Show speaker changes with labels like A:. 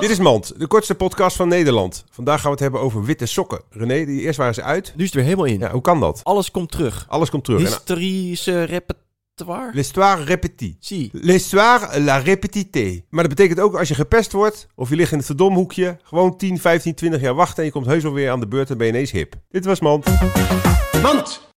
A: is Mand, de kortste podcast van Nederland. Vandaag gaan we het hebben over witte sokken. René, die eerst waren ze uit.
B: Nu is het weer helemaal in.
A: Ja, hoe kan dat?
B: Alles komt terug.
A: Alles komt terug. En- ah,
B: Historische repertoire.
A: L'histoire répétit.
B: Zie.
A: L'histoire la répétité. Maar dat betekent ook als je gepest wordt of je ligt in het verdomhoekje, gewoon 10, 15, 20 jaar wachten en je komt heus wel weer aan de beurt en ben je ineens hip. Dit was Mand.
C: Mand.